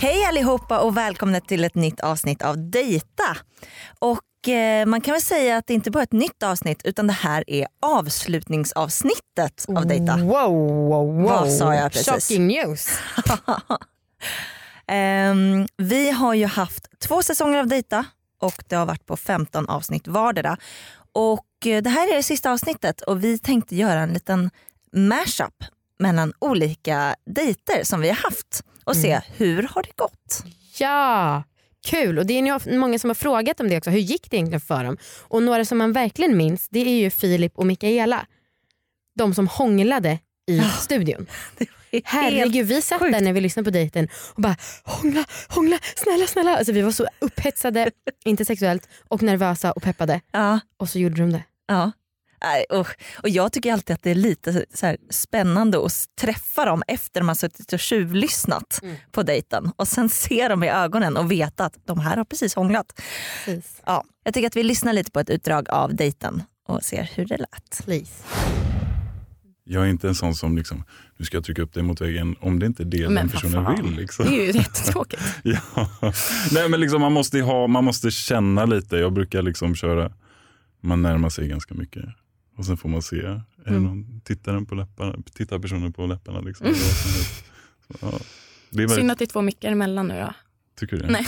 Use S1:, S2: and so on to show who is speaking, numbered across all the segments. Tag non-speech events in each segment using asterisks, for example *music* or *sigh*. S1: Hej allihopa och välkomna till ett nytt avsnitt av Dejta. Och eh, man kan väl säga att det inte bara är ett nytt avsnitt utan det här är avslutningsavsnittet
S2: Mm.
S1: av Dejta.
S2: Wow, wow, wow.
S1: Vad sa jag precis?
S2: Shocking news.
S1: Ehm, vi har ju haft två säsonger av Dejta och det har varit på 15 avsnitt vardera. Och eh, det här är det sista avsnittet och vi tänkte göra en liten mashup mellan olika dejter som vi har haft och se hur har det gått.
S2: Ja, kul. Och det är ju of- många som har frågat om det också. Hur gick det egentligen för dem? Och några som man verkligen minns det är ju Filip och Mikaela. De som hånglade i studion. Herregud, vi satt där när vi lyssnade på dejten och bara hångla, hångla, snälla, snälla. Alltså, vi var så
S1: *laughs*
S2: upphetsade, inte sexuellt, och nervösa och peppade.
S1: Ja,
S2: Och så gjorde de det.
S1: Ja. Nej, usch. Och jag tycker alltid att det är lite så här spännande att träffa dem efter man suttit och tjuvlyssnat
S2: Mm.
S1: på dejten och sen *laughs* se dem i ögonen och veta att de här har precis hånglat.
S2: Precis.
S1: Ja, jag tycker att vi lyssnar lite på ett utdrag av dejten och ser hur det lät.
S2: Please.
S3: Jag är inte en sån som liksom, nu ska jag trycka upp dig mot väggen om det inte är det den personen vill. Liksom.
S4: Det är ju jättetråkigt.
S3: *laughs* Ja. Nej, men liksom, man, måste ju ha, man måste känna lite. Jag brukar liksom köra, man närmar sig ganska mycket. Och sen får man se, är det
S4: Mm.
S3: någon, tittar, den på läpparna, tittar personen på läpparna? Liksom, Eller vad som helst. Så, ja. Det är
S4: Synd
S3: väldigt,
S4: att det är två mickar emellan nu då.
S3: tycker du?
S4: Nej.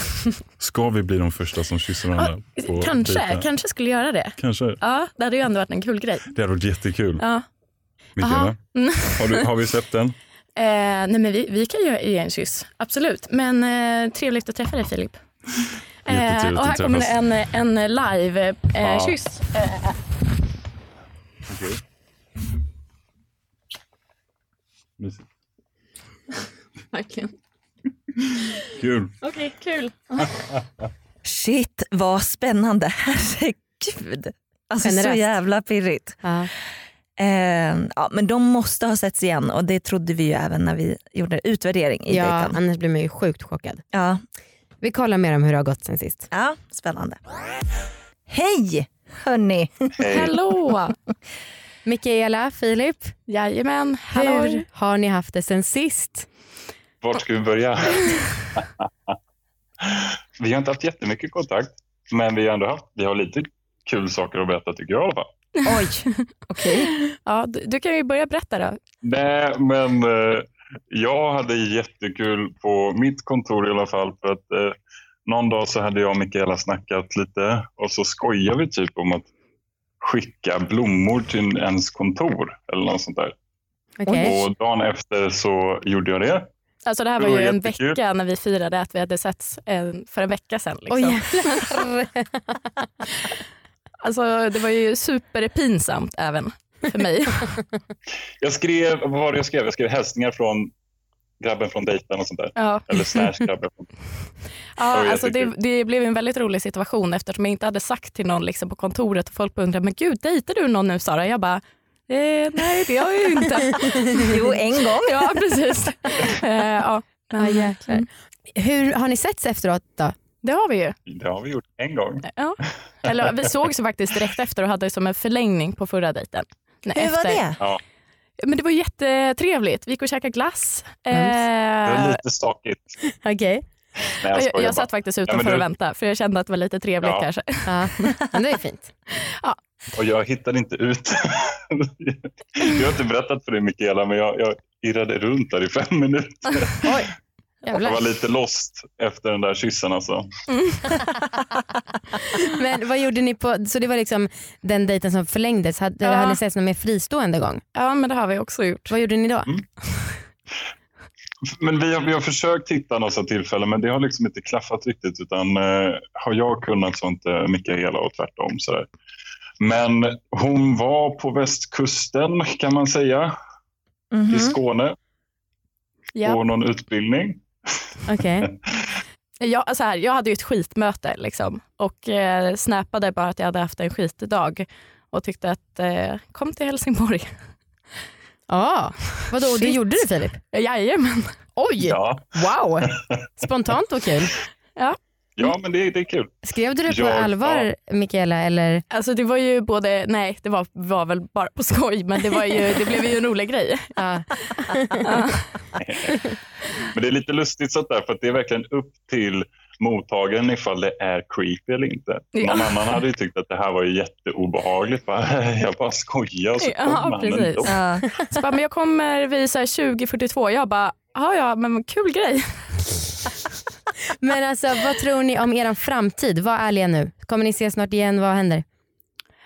S3: Ska vi bli de första som kysser varandra? på
S4: kanske,
S3: dejten?
S4: kanske skulle göra det.
S3: kanske.
S4: Ja, det hade ju ändå varit en kul grej.
S3: Det hade varit jättekul.
S4: Ja.
S3: Mikaela,
S4: Aha. Mm.
S3: har, du, har vi sett den?
S4: Eh, nej men vi, vi kan ju ge en kyss, absolut. Men eh, trevligt att träffa dig Filip.
S3: Jättetrevligt
S4: Eh, och här
S3: att
S4: kommer
S3: träffas.
S4: en, en live-kyss. Eh,
S3: Ja.
S4: kyss. eh,
S3: Okej. Mysigt.
S4: verkligen.
S3: Kul.
S4: Okej, kul.
S1: Shit vad spännande, *laughs* herregud. Alltså så
S2: Generöst.
S1: jävla pirrigt.
S2: Ja.
S1: Eh, ja, men de måste ha setts igen och det trodde vi ju även när vi gjorde utvärdering i
S2: Ja,
S1: dejten.
S2: annars blir man ju sjukt chockad.
S1: Ja,
S2: Vi kollar mer om hur det har gått sen sist.
S1: Ja, spännande. Hej hörni! *laughs*
S4: Hallå!
S2: *laughs* Mikaela, Filip,
S4: Jajamän, hallå.
S2: hur har ni haft det sen sist?
S5: Vart ska vi börja? *laughs* vi har inte haft jättemycket kontakt, men vi har ändå haft, vi har lite kul saker att berätta tycker jag i alla fall.
S1: Oj, okej.
S4: Ja, du, du kan ju börja berätta då.
S5: Nej, men eh, jag hade jättekul på mitt kontor i alla fall för att eh, någon dag så hade jag och Mikaela snackat lite och så skojade vi typ om att skicka blommor till ens kontor eller något sånt där.
S2: Okej.
S5: Och dagen efter så gjorde jag det.
S4: Alltså det här
S5: Det
S4: var ju
S5: var
S4: en
S5: jättekul.
S4: vecka när vi firade att vi hade setts eh, för en vecka sedan. Liksom.
S2: Oj, jävlar.
S4: Alltså, det var ju superpinsamt även
S2: *laughs*
S4: för mig.
S5: Jag skrev, vad var det jag skrev? Jag skrev hälsningar från grabben från dejten och sånt där.
S4: ja.
S5: Eller slash grabben från
S4: Ja,
S5: jag
S4: alltså det,
S5: tycker-
S4: det blev en väldigt rolig situation eftersom jag inte hade sagt till någon liksom på kontoret och folk undrade men gud dejtar du någon nu Sara? Jag bara eh, nej det har jag ju inte.
S1: Jo, en gång.
S4: ja precis. Eh, ja.
S2: *laughs* Ja, jäklar. Hur har ni setts efteråt då?
S4: Det har vi ju.
S5: Det har vi gjort en gång.
S4: Ja. Eller vi sågs faktiskt direkt efter och hade som en förlängning på förra dejten. Nej,
S1: Hur var
S4: efter.
S1: det?
S4: Men det var jättetrevligt. Vi gick och käkade glass.
S5: Det
S4: Eh,
S5: är lite stakigt.
S2: Okej.
S5: Nej, jag,
S4: jag, jag,
S5: skojar bara.
S4: satt faktiskt utanför
S5: men du-
S4: och väntade för jag kände att det var lite trevligt
S5: Ja.
S4: kanske.
S2: Ja, men det är fint.
S5: Och jag hittade inte ut. *laughs* jag har inte berättat för dig Mikaela, men jag, jag irrade runt där i fem minuter. *laughs* Jag var
S2: Jävlar.
S5: lite lost efter den där kyssen alltså.
S2: Men vad gjorde ni på, så det var liksom den dejten som förlängdes. Hade,
S4: Ja.
S2: har ni ses någon mer fristående gång?
S4: Ja, men det har vi också gjort.
S2: Vad gjorde ni då?
S5: Men vi har, vi har försökt hitta några tillfällen men det har liksom inte klaffat riktigt utan eh, har jag kunnat så har inte Mikaela och tvärtom. Sådär. Men hon var på västkusten kan man säga, i
S1: Mhm.
S5: Skåne
S4: Mm-hmm. Ja.
S5: på någon utbildning.
S2: Okej.
S4: Jag, så här, jag hade ju ett skitmöte liksom, och eh, snappade bara att jag hade haft en skitdag och tyckte att eh, kom
S2: *laughs*
S4: till Helsingborg.
S2: Ja. Ah, Vadå, och det
S4: Shit.
S2: gjorde du Filip?
S4: Jajamän.
S2: Oj, *laughs*
S5: Ja,
S2: wow. Spontant och kul.
S5: ja men det, det är kul.
S2: Skrev du det på
S5: Ja,
S2: allvar Mikaela eller?
S4: Alltså det var ju både, nej det var, var väl bara på skoj men det, var ju, det blev ju en rolig grej.
S2: Ja.
S5: Men det är lite lustigt sånt där för att det är verkligen upp till mottagaren ifall det är creepy eller inte.
S4: Ja.
S5: Någon annan hade ju tyckt att det här var ju jätteobehagligt. Bara, *laughs* jag bara skojar och så
S4: Ja,
S5: kom han
S4: precis.
S5: ändå.
S1: Ja.
S4: Så bara, men jag kommer vid så här 20.42. Jag bara, ja ja men kul grej.
S2: Men alltså vad tror ni om er framtid? Var ärliga nu. Kommer ni ses snart igen? Vad händer?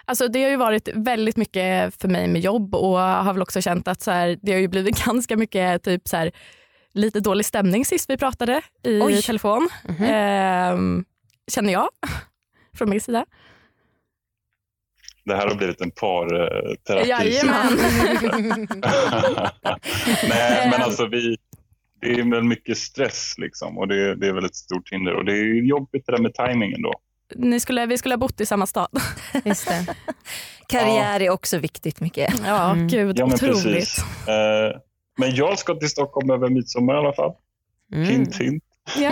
S4: Alltså det har ju varit väldigt mycket för mig med jobb och har väl också känt att så här, det har ju blivit *laughs* ganska mycket typ så här, lite dålig stämning sist vi pratade i
S1: Oj.
S4: telefon.
S2: Mhm.
S4: Ehm, känner jag *laughs* från min sida.
S5: Det här har blivit en parterapi.
S4: Jajamän.
S5: *laughs* Nej, men alltså vi, det är väl mycket stress liksom och det, det är väl ett stort hinder och det är ju jobbigt det där med tajmingen då.
S4: Ni skulle, vi skulle ha bott i samma stad.
S2: *laughs* Just det.
S1: Karriär är också viktigt mycket. *laughs*
S4: *laughs* Ja,
S2: Mm.
S4: gud.
S5: Ja, men
S4: otroligt.
S5: precis. Eh, men jag ska till Stockholm över midsommar i alla fall.
S2: Mm.
S5: Hint, hint.
S4: Ja.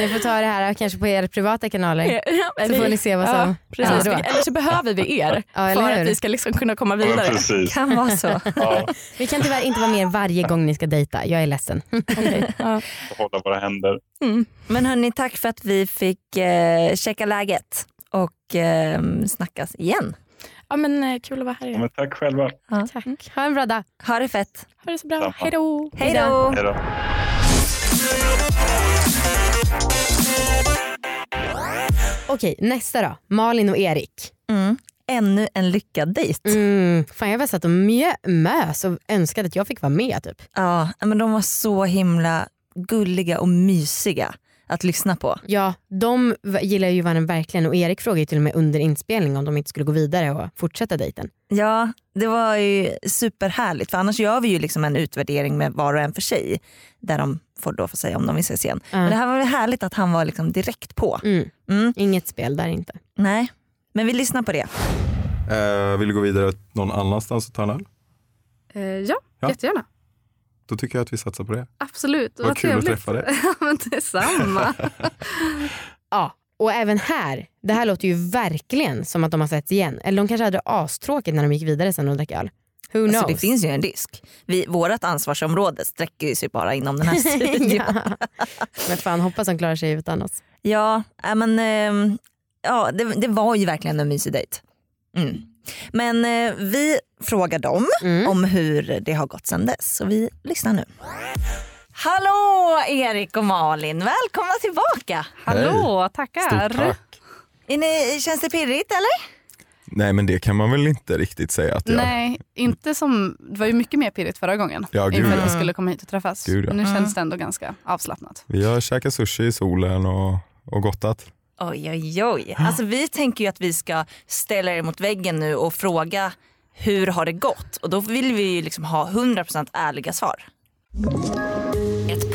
S2: Ni får ta det här kanske på era privata kanaler.
S4: *laughs* Ja,
S2: Så får ni se vad som
S4: precis.
S2: händer då.
S4: Eller så behöver vi er
S2: *laughs* Ja, eller
S4: för
S2: hur?
S4: att vi ska liksom kunna komma
S5: Ja, men
S4: vidare.
S5: precis.
S1: Kan vara så.
S5: Ja,
S2: Vi kan tyvärr inte vara med er varje gång ni ska dejta. Jag är ledsen.
S4: Okej, ja.
S5: hålla våra händer.
S4: Mm.
S1: Men hörni, tack för att vi fick eh, checka läget och eh, snackas igen.
S4: ja, men eh, kul att vara här
S5: Ja,
S4: igen.
S5: men tack själva.
S2: Tack. Ha en bra dag.
S1: Ha det fett.
S4: Ha det så bra.
S5: Samma.
S4: Hej då.
S1: Hej då!
S5: Hej då.
S2: Okej, nästa då. Malin och Erik.
S1: Mm. Ännu en lyckad dejt.
S2: Mm. Fan, jag var satt och mjö, mös och önskade att jag fick vara med. Typ.
S1: Ja, men de var så himla gulliga och mysiga att lyssna på.
S2: Ja, de v- gillar ju varandra verkligen och Erik frågade ju till och med under inspelning om de inte skulle gå vidare och fortsätta dejten.
S1: Ja, det var ju superhärligt för annars gör vi ju liksom en utvärdering med var och en för sig där de får då få säga om de vill ses igen. Men det här var väl härligt att han var liksom direkt på.
S2: Mm.
S1: Mm.
S2: Inget spel där inte.
S1: Nej, men vi lyssnar på det.
S6: Eh, vill du gå vidare någon annanstans och ta en öl?
S7: Eh, ja,
S6: Ja.
S7: jättegärna.
S6: Då tycker jag att vi satsar på det.
S7: Absolut.
S6: Vad kul att träffa dig.
S7: Ja, men detsamma.
S2: Ja, och även här, det här låter ju verkligen som att de har setts igen. Eller de kanske hade astråkigt när de gick vidare sen och drack öl. Who knows?
S1: Alltså, det finns ju en risk. Vi, vårt ansvarsområde sträcker sig bara inom
S2: *laughs*
S1: den här studion.
S2: ja. Alltså, Men fan, hoppas de klarar sig utan oss.
S1: Ja, äh, men, ehm, ja det, det var ju verkligen en mysig dejt. Mm. Men eh, vi frågar dem
S2: Mm.
S1: om hur det har gått sedan dess. Så vi lyssnar nu. Hallå Erik och Malin, välkomna tillbaka.
S7: *laughs* Hallå, tackar.
S6: Stort tack.
S1: Är ni, känns det pirrigt eller?
S6: Nej men det kan man väl inte riktigt säga att jag...
S7: Nej, inte som, det var ju mycket mer pirrigt förra gången.
S6: Ja, gud,
S7: inför att
S6: ja.
S7: vi skulle komma hit och träffas.
S6: Gud, ja.
S7: Nu känns det ändå ganska avslappnat.
S6: Vi har käkat sushi i solen och, och gottat.
S1: Oj oj oj. Alltså, vi tänker ju att vi ska ställa er mot väggen nu och fråga hur har det gått? Och då vill vi ju liksom ha 100% ärliga svar.
S8: Ett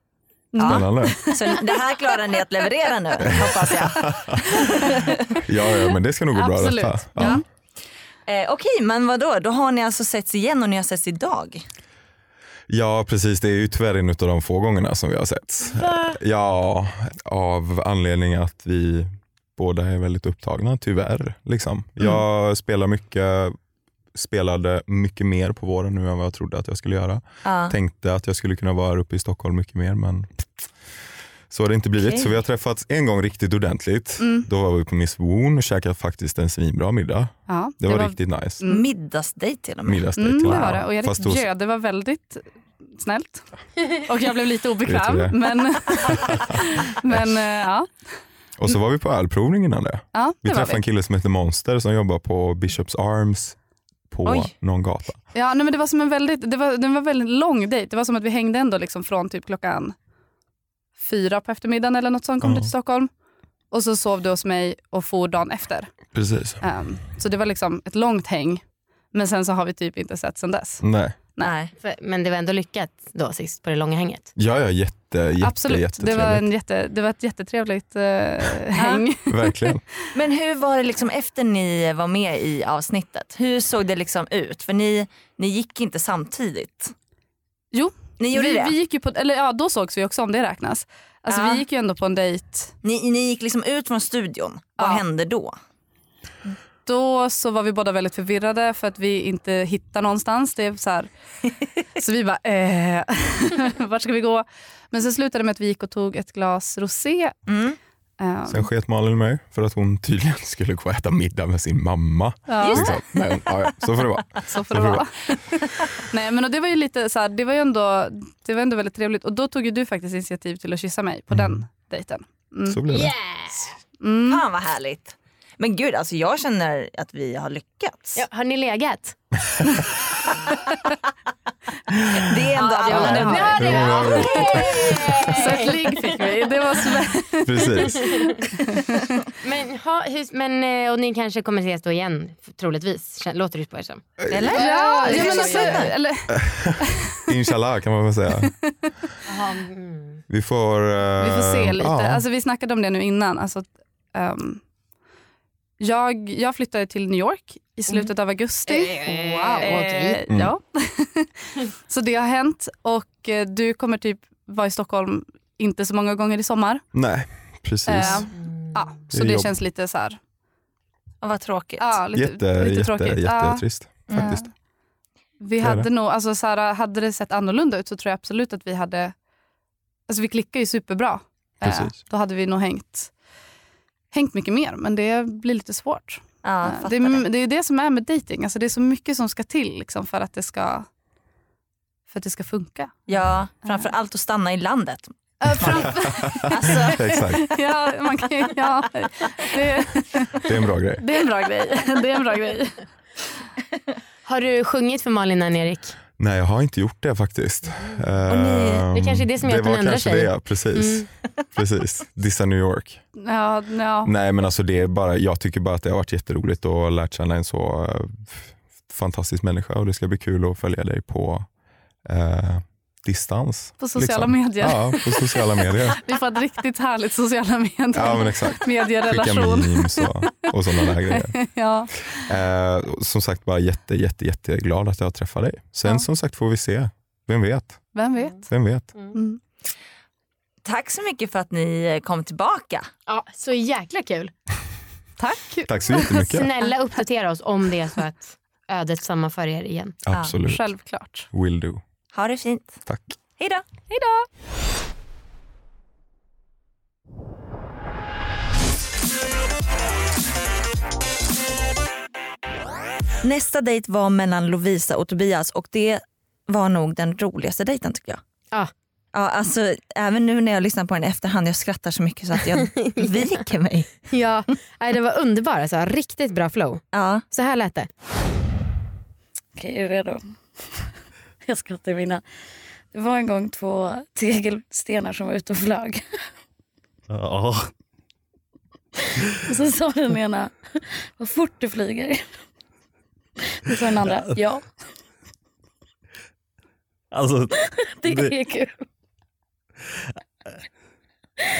S1: Mm.
S7: *laughs*
S6: Spännande.
S1: Så det här klarar ni att leverera nu hoppas jag.
S6: Ja, ja men det ska nog gå bra
S7: Absolut.
S6: detta. Ja.
S7: Ja.
S1: Eh, Okej, men vadå? Då har ni alltså setts igen och ni har setts idag?
S6: Ja precis, det är ju tyvärr en av de få gångerna som vi har sett.
S9: Va?
S6: Ja, av anledning att vi båda är väldigt upptagna tyvärr. Liksom. Jag spelar mycket, spelade mycket mer på våren nu än vad jag trodde att jag skulle göra.
S1: Ja.
S6: Tänkte att jag skulle kunna vara här uppe i Stockholm mycket mer men så har det inte blivit.
S1: Okej.
S6: Så vi har träffats en gång riktigt ordentligt.
S1: Mm.
S6: Då var vi på Miss Woon och käkade faktiskt en svinbra middag.
S4: Ja,
S6: det, var, riktigt nice.
S1: Mm. Middagsdejt till och med.
S6: Middagsdejt
S4: Mm, det
S6: till och med.
S4: var det. Och Erik
S6: Fast hos-
S4: bjöd, det var väldigt snällt. Och jag blev lite obekväm.
S6: Vet du det? *laughs*
S4: Men, men eh, ja.
S6: Och så var vi på ölprovning innan det.
S4: Ja,
S6: vi
S4: det var
S6: träffade
S4: vi.
S6: en kille som heter Monster som jobbar på Bishops Arms på
S4: Oj.
S6: någon gata.
S4: Ja, nej, men det var som en väldigt, det var, det var en väldigt lång dejt. Det var som att vi hängde ändå liksom från typ klockan fyra på eftermiddagen eller något sånt kom
S6: Ja.
S4: du till Stockholm. Och så sov du hos mig och for dagen efter.
S6: Precis.
S4: Ehm, så det var liksom ett långt häng. Men sen så har vi typ inte sett sen dess.
S6: Nej.
S4: Nej.
S2: Men det var ändå lyckat då sist på det långa hänget.
S6: Ja, ja, jätte, jätte,
S4: Absolut. Det var, en jätte, det var ett jättetrevligt eh, häng.
S6: Verkligen.
S1: Men hur var det liksom efter ni var med i avsnittet? Hur såg det liksom ut? För ni, ni gick inte samtidigt.
S4: Jo,
S1: ni gjorde
S4: vi,
S1: det.
S4: Vi gick ju på, eller ja, då sågs vi också om det räknas. Alltså
S1: Ja.
S4: vi gick ju ändå på en dejt.
S1: Ni, ni gick liksom ut från studion. Vad hände då?
S4: Då så var vi båda väldigt förvirrade för att vi inte hittar någonstans. Det är
S1: *laughs*
S4: så, här. så vi bara, eh, *laughs* vart ska vi gå? Men sen slutade det med att vi gick och tog ett glas rosé. Ehm,
S6: Sen sket Malin mig för att hon tydligen *laughs* skulle gå och äta middag med sin mamma. Liksom.
S4: Ja. Just det.
S6: Men, ja, ja, så får det vara.
S4: Så får det vara. Nej men och det var ju lite så här, det var ju ändå, det var ändå väldigt trevligt och då tog ju du faktiskt initiativ till att kyssa mig på den dejten. Mm.
S6: Så blev det.
S1: Mm. Fan vad härligt. Men gud, alltså jag känner att vi har lyckats.
S2: Ja, har ni legat?
S1: Det är ändå
S2: Ja,
S1: alla
S2: det har
S1: har.
S2: vi.
S6: Ja, det har vi.
S2: Yay!
S4: Så ett ligg fick vi. Det var så...
S6: Precis.
S2: men, ha, hur, men, eh, och ni kanske kommer ses då igen, f- troligtvis. Kän- Låter det på er som.
S1: Eller?
S4: Ja,
S2: det
S4: ja, men
S2: kanske
S4: alltså,
S2: vi gör.
S4: eller,
S6: Inshallah kan man väl säga. Vi får, eh,
S4: vi får se lite.
S6: ja.
S4: Alltså, vi snackade om det nu innan. Alltså, att, ehm, jag, jag flyttade till New York i slutet av augusti.
S2: Eh, wow, okej.
S4: Eh, ja. *laughs* så det har hänt och eh, du kommer typ vara i Stockholm inte så många gånger i sommar.
S6: Nej, precis.
S4: Eh, ja, så
S6: Det är
S4: det
S6: jobb.
S4: känns lite så här.
S1: Vad tråkigt.
S4: Ja, lite,
S6: jätte,
S4: lite
S6: jätte,
S4: tråkigt. Ja.
S6: jättetrist faktiskt.
S4: Vi
S6: Det är
S4: hade
S6: det.
S4: nog, alltså så här, hade det sett annorlunda ut så tror jag absolut att vi hade, alltså vi klickar ju superbra. Eh,
S6: Precis.
S4: då hade vi nog hängt, hängt mycket mer, men det blir lite svårt.
S1: Ja,
S4: Eh, det, är- det är det som är med dating. alltså det är så mycket som ska till liksom, för, att det ska, för att det ska funka.
S1: Ja, framförallt att stanna i landet.
S4: Alltså.
S6: *laughs* Exakt,
S4: *laughs* ja, man kan, *laughs* ja, det,
S6: det är en bra grej.
S4: det är en bra grej. Det är en bra grej.
S2: Har du sjungit för Malin än Erik?
S6: Nej, jag har inte gjort det faktiskt. Ehm,
S2: det kanske är det som gör att hon
S6: var
S2: ändrar
S6: kanske
S2: sig.
S6: Det, precis.
S2: Mm. *laughs*
S6: precis. Dissa New York.
S4: Ja, ja.
S6: Nej men alltså det är bara, jag tycker bara att det har varit jätteroligt och lärt känna en så eh, f- fantastisk människa och det ska bli kul att följa dig på eh, distans. Liksom.
S4: På sociala medier.
S6: Ja, på sociala medier.
S4: *laughs* Vi får ett riktigt härligt sociala medier,
S6: Ja, men exakt. Skicka
S4: medierelation.
S6: memes och, och sådana där grejer.
S4: *laughs* ja.
S6: Eh, som sagt bara jätte, jätte, jätteglad att jag träffar dig. Sen som sagt får vi se. Vem vet?
S4: Vem vet?
S6: Vem vet?
S1: Tack så mycket för att ni kom tillbaka.
S2: Ja, så jäkla kul.
S4: Tack.
S6: Tack så
S2: *laughs*
S6: jättemycket.
S2: Snälla uppdatera oss om det är så att ödet sammanför er igen.
S6: Absolut.
S4: Självklart.
S6: Will do.
S1: Ha det fint.
S6: Tack.
S1: Hej då.
S4: Hej då.
S1: Nästa dejt var mellan Lovisa och Tobias och det var nog den roligaste dejten tycker jag.
S2: Ja.
S1: Ja, alltså, även nu när jag lyssnar på den i efterhand, jag skrattar så mycket så att jag viker mig.
S2: Ja, nej, det var underbart. Alltså. Riktigt bra flow.
S1: Ja.
S2: Så här lät det.
S10: Okej, är du redo? *laughs* Jag skrattar i mina. Det var en gång två tegelstenar som var ute och flög.
S11: Ja.
S10: Och så sa den ena, vad fort du flyger. Då sa den andra, ja,
S11: Alltså,
S10: *laughs* det
S11: det-
S10: är kul.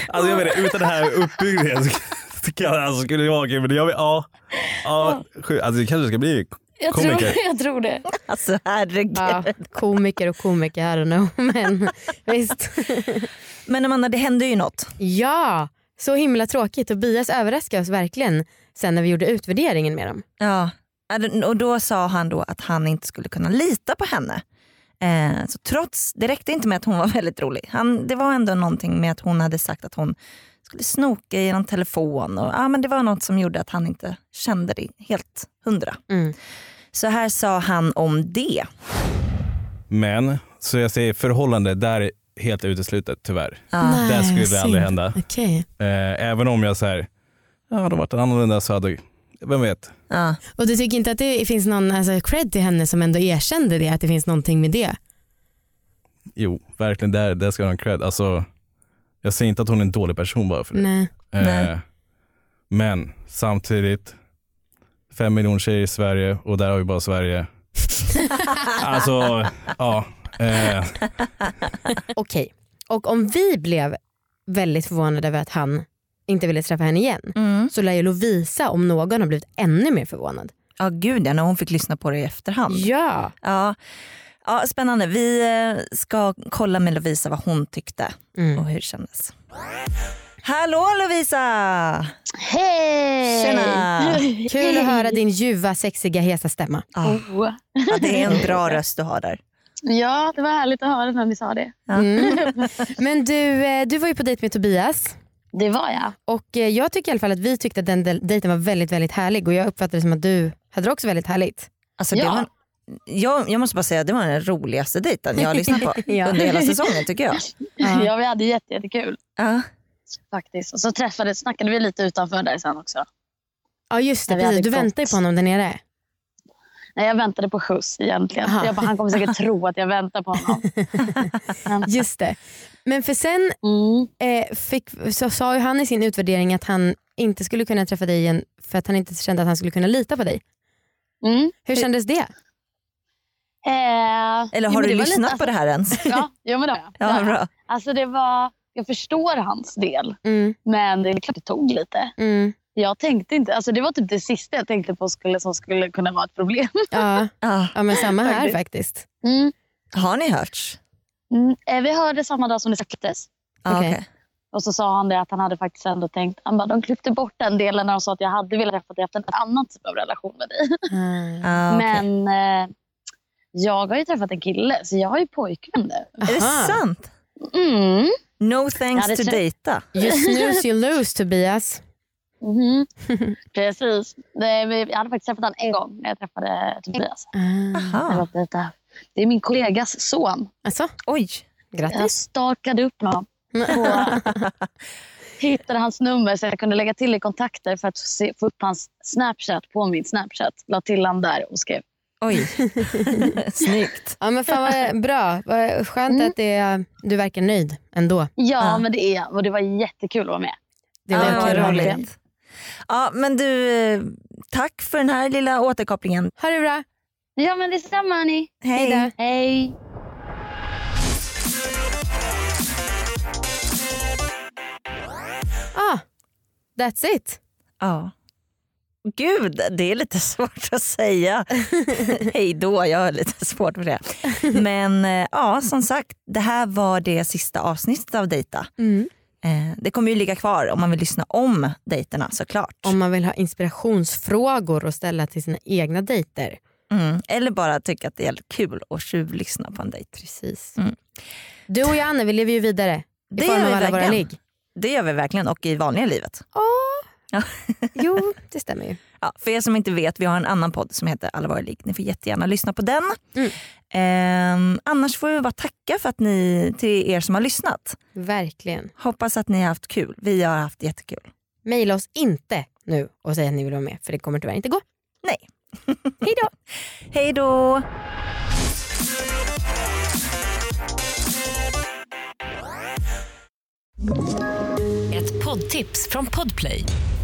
S11: alltså jag menar, utan det här uppbyggnaden så kan- alltså, skulle jag vara kul. Men jag, vill- ja, ja, sju- alltså, det kanske ska bli
S12: Jag
S10: *laughs*
S12: tror,
S2: Komiker.
S12: jag tror det.
S1: Alltså herregud.
S2: Ja, komiker och komiker, I don't know. *laughs* Men, visst.
S1: men Amanda det hände ju något.
S2: Ja, så himla tråkigt. Tobias överraskade oss verkligen sen när vi gjorde utvärderingen med dem.
S1: Ja. Och då sa han då att han inte skulle kunna lita på henne. Eh, så trots, det räckte inte med att hon var *laughs* väldigt rolig. Han, det var ändå någonting med att hon hade sagt att hon skulle snoka i någon telefon. Och, ja, men det var något som gjorde att han inte kände det helt hundra. Så här sa han om det.
S11: Men, så jag säger förhållande, där är helt uteslutet tyvärr.
S1: Ah. Nej,
S11: där skulle det
S2: synd.
S11: aldrig hända.
S2: Okej.
S11: Eh, även om jag så här, ja, hade varit annorlunda så hade, vem vet.
S2: Och du tycker inte att det finns någon alltså, cred till henne som ändå erkände det, att det finns någonting med det?
S11: Jo, verkligen, där, där ska jag ha en cred. Alltså, jag säger inte att hon är en dålig person bara för det.
S2: Nej.
S11: Eh,
S2: Nej.
S11: Men samtidigt, fem miljoner tjejer i Sverige och där har vi bara
S2: *laughs*
S11: Sverige. alltså, ja. Eh,
S2: Okej. Och om vi blev väldigt förvånade över att han inte ville träffa henne igen
S1: Mm.
S2: så lär ju Lovisa om någon ha blivit ännu mer förvånad.
S1: Ja gud ja, när hon fick lyssna på det i efterhand.
S2: Ja.
S1: Ja, ja spännande. Vi eh, ska kolla med Lovisa vad hon tyckte
S2: Mm.
S1: och hur det kändes. Mm. Hallå Lovisa!
S4: Hej!
S1: Tjena!
S2: Kul att höra din ljuva, sexiga, hesa stämma.
S1: Ja.
S4: Oh.
S1: Ja, det är en bra röst du har där.
S4: Ja, det var härligt att höra när ni sa det.
S2: Mm. *laughs* Men du, eh, du var ju på dejt med Tobias.
S4: Det var jag.
S2: Och eh, jag tycker i alla fall att vi tyckte att den del- dejten var väldigt, väldigt härlig och jag uppfattade det som att du hade det också väldigt härligt.
S1: Alltså, det var, jag, jag måste bara säga det var den roligaste dejten jag har lyssnat
S4: *laughs*
S1: på
S4: Ja.
S1: under hela säsongen tycker jag.
S4: Ja, vi hade jätte, jättekul.
S1: Ja.
S4: Faktiskt. Och så träffades, snackade vi lite utanför där sen också.
S2: *laughs* Ja just det,
S4: När vi
S2: precis. du
S4: hade gått.
S2: väntade ju på honom där nere.
S4: Nej, jag väntade på skjuts egentligen.
S2: Aha.
S4: Jag bara, han kommer säkert tro att jag väntar på honom.
S2: Just det. Men för sen
S1: Mm.
S2: eh, fick, så sa ju han i sin utvärdering att han inte skulle kunna träffa dig igen för att han inte kände att han skulle kunna lita på dig.
S1: Mm.
S2: Hur kändes det?
S4: Eh,
S1: Eller
S4: jo,
S1: har
S4: men
S1: du
S4: det var
S1: lyssnat
S4: lite-
S1: på det här ens?
S4: *laughs* Ja, jo, men det har jag.
S1: Ja,
S4: Det har jag.
S1: bra.
S4: Alltså, det var, jag förstår hans del,
S2: Mm.
S4: men det är klart det tog lite. Jag tänkte inte, alltså det var typ det sista jag tänkte på skulle, som skulle kunna vara ett problem. *laughs*
S2: Ja. ja, men samma här
S4: Faktiskt.
S2: faktiskt.
S4: Mm.
S1: Har ni hörts?
S4: Mm, eh, vi hörde samma dag som det släpptes.
S1: Ah, Okej. okej.
S4: Och så sa han det att han hade faktiskt ändå tänkt, han bara, de klippte bort den delen när de sa att jag hade velat träffa dig efter en annan typ av relation med dig.
S1: Ah, okej.
S4: Men eh, jag har ju träffat en kille så jag har ju pojkvän nu.
S1: Är det sant?
S4: Mm.
S1: No thanks
S4: Ja, det
S1: to
S4: tror-
S1: dejta.
S2: You snooze you lose Tobias.
S4: Mhm. Precis. Nej, men Jag hade faktiskt träffat honom en gång när jag träffade Tobias. Jag var på dejta. Det är min kollegas son.
S2: Ah. Alltså?
S1: Oj.
S4: Jag stalkade upp honom. Och hittade hans nummer så jag kunde lägga till i kontakter för att se, få upp hans Snapchat på min Snapchat. La till han där och skrev. *laughs*
S1: Oj. Snyggt.
S2: Ja, men fan
S1: *laughs*
S2: vad bra. Vad skönt
S1: Mm.
S2: att det, du verkar nöjd ändå.
S4: Ja, men det är jag. Och det var jättekul att vara med.
S2: Det var
S1: Ja,
S2: kul att ha dig.
S1: roligt. Ja, men du, eh, tack för den här lilla återkopplingen.
S2: Ha det bra.
S4: Ja, men detsamma hörni.
S1: Hej.
S4: Hej.
S2: Ah, that's it.
S1: Ja. Gud, det är lite *laughs* svårt att säga hej då. Jag har lite svårt för det. Men eh, ja, som sagt, det här var det sista avsnittet av Dejta.
S2: Mm.
S1: Eh, Det kommer ju ligga kvar om man vill lyssna om dejterna såklart.
S2: Om man vill ha inspirationsfrågor att ställa till sina egna dejter.
S1: Mm. Eller bara tycka att det är kul att tjuvlyssna på en dejt.
S2: Precis.
S1: Mm.
S2: Du och jag Anne, vi lever ju vidare i
S1: Det
S2: form
S1: gör
S2: av
S1: vi
S2: alla våra
S1: verkligen. *laughs*
S2: ligg.
S1: Det gör vi verkligen och i vanliga livet.
S2: Jo, det stämmer ju.
S1: Ja, för er som inte vet, vi har en annan podd som heter Alla våra ligg. Ni får jättegärna lyssna på den.
S2: Mm.
S1: Ehm, annars får vi bara tacka för att ni, till er som har lyssnat.
S2: Verkligen.
S1: Hoppas att ni har haft kul. Vi har haft jättekul.
S2: Maila oss inte nu och säg att ni vill vara med för det kommer tyvärr inte gå.
S1: Nej.
S2: Hej då.
S1: *laughs* Hej då.
S13: Ett poddtips från Podplay.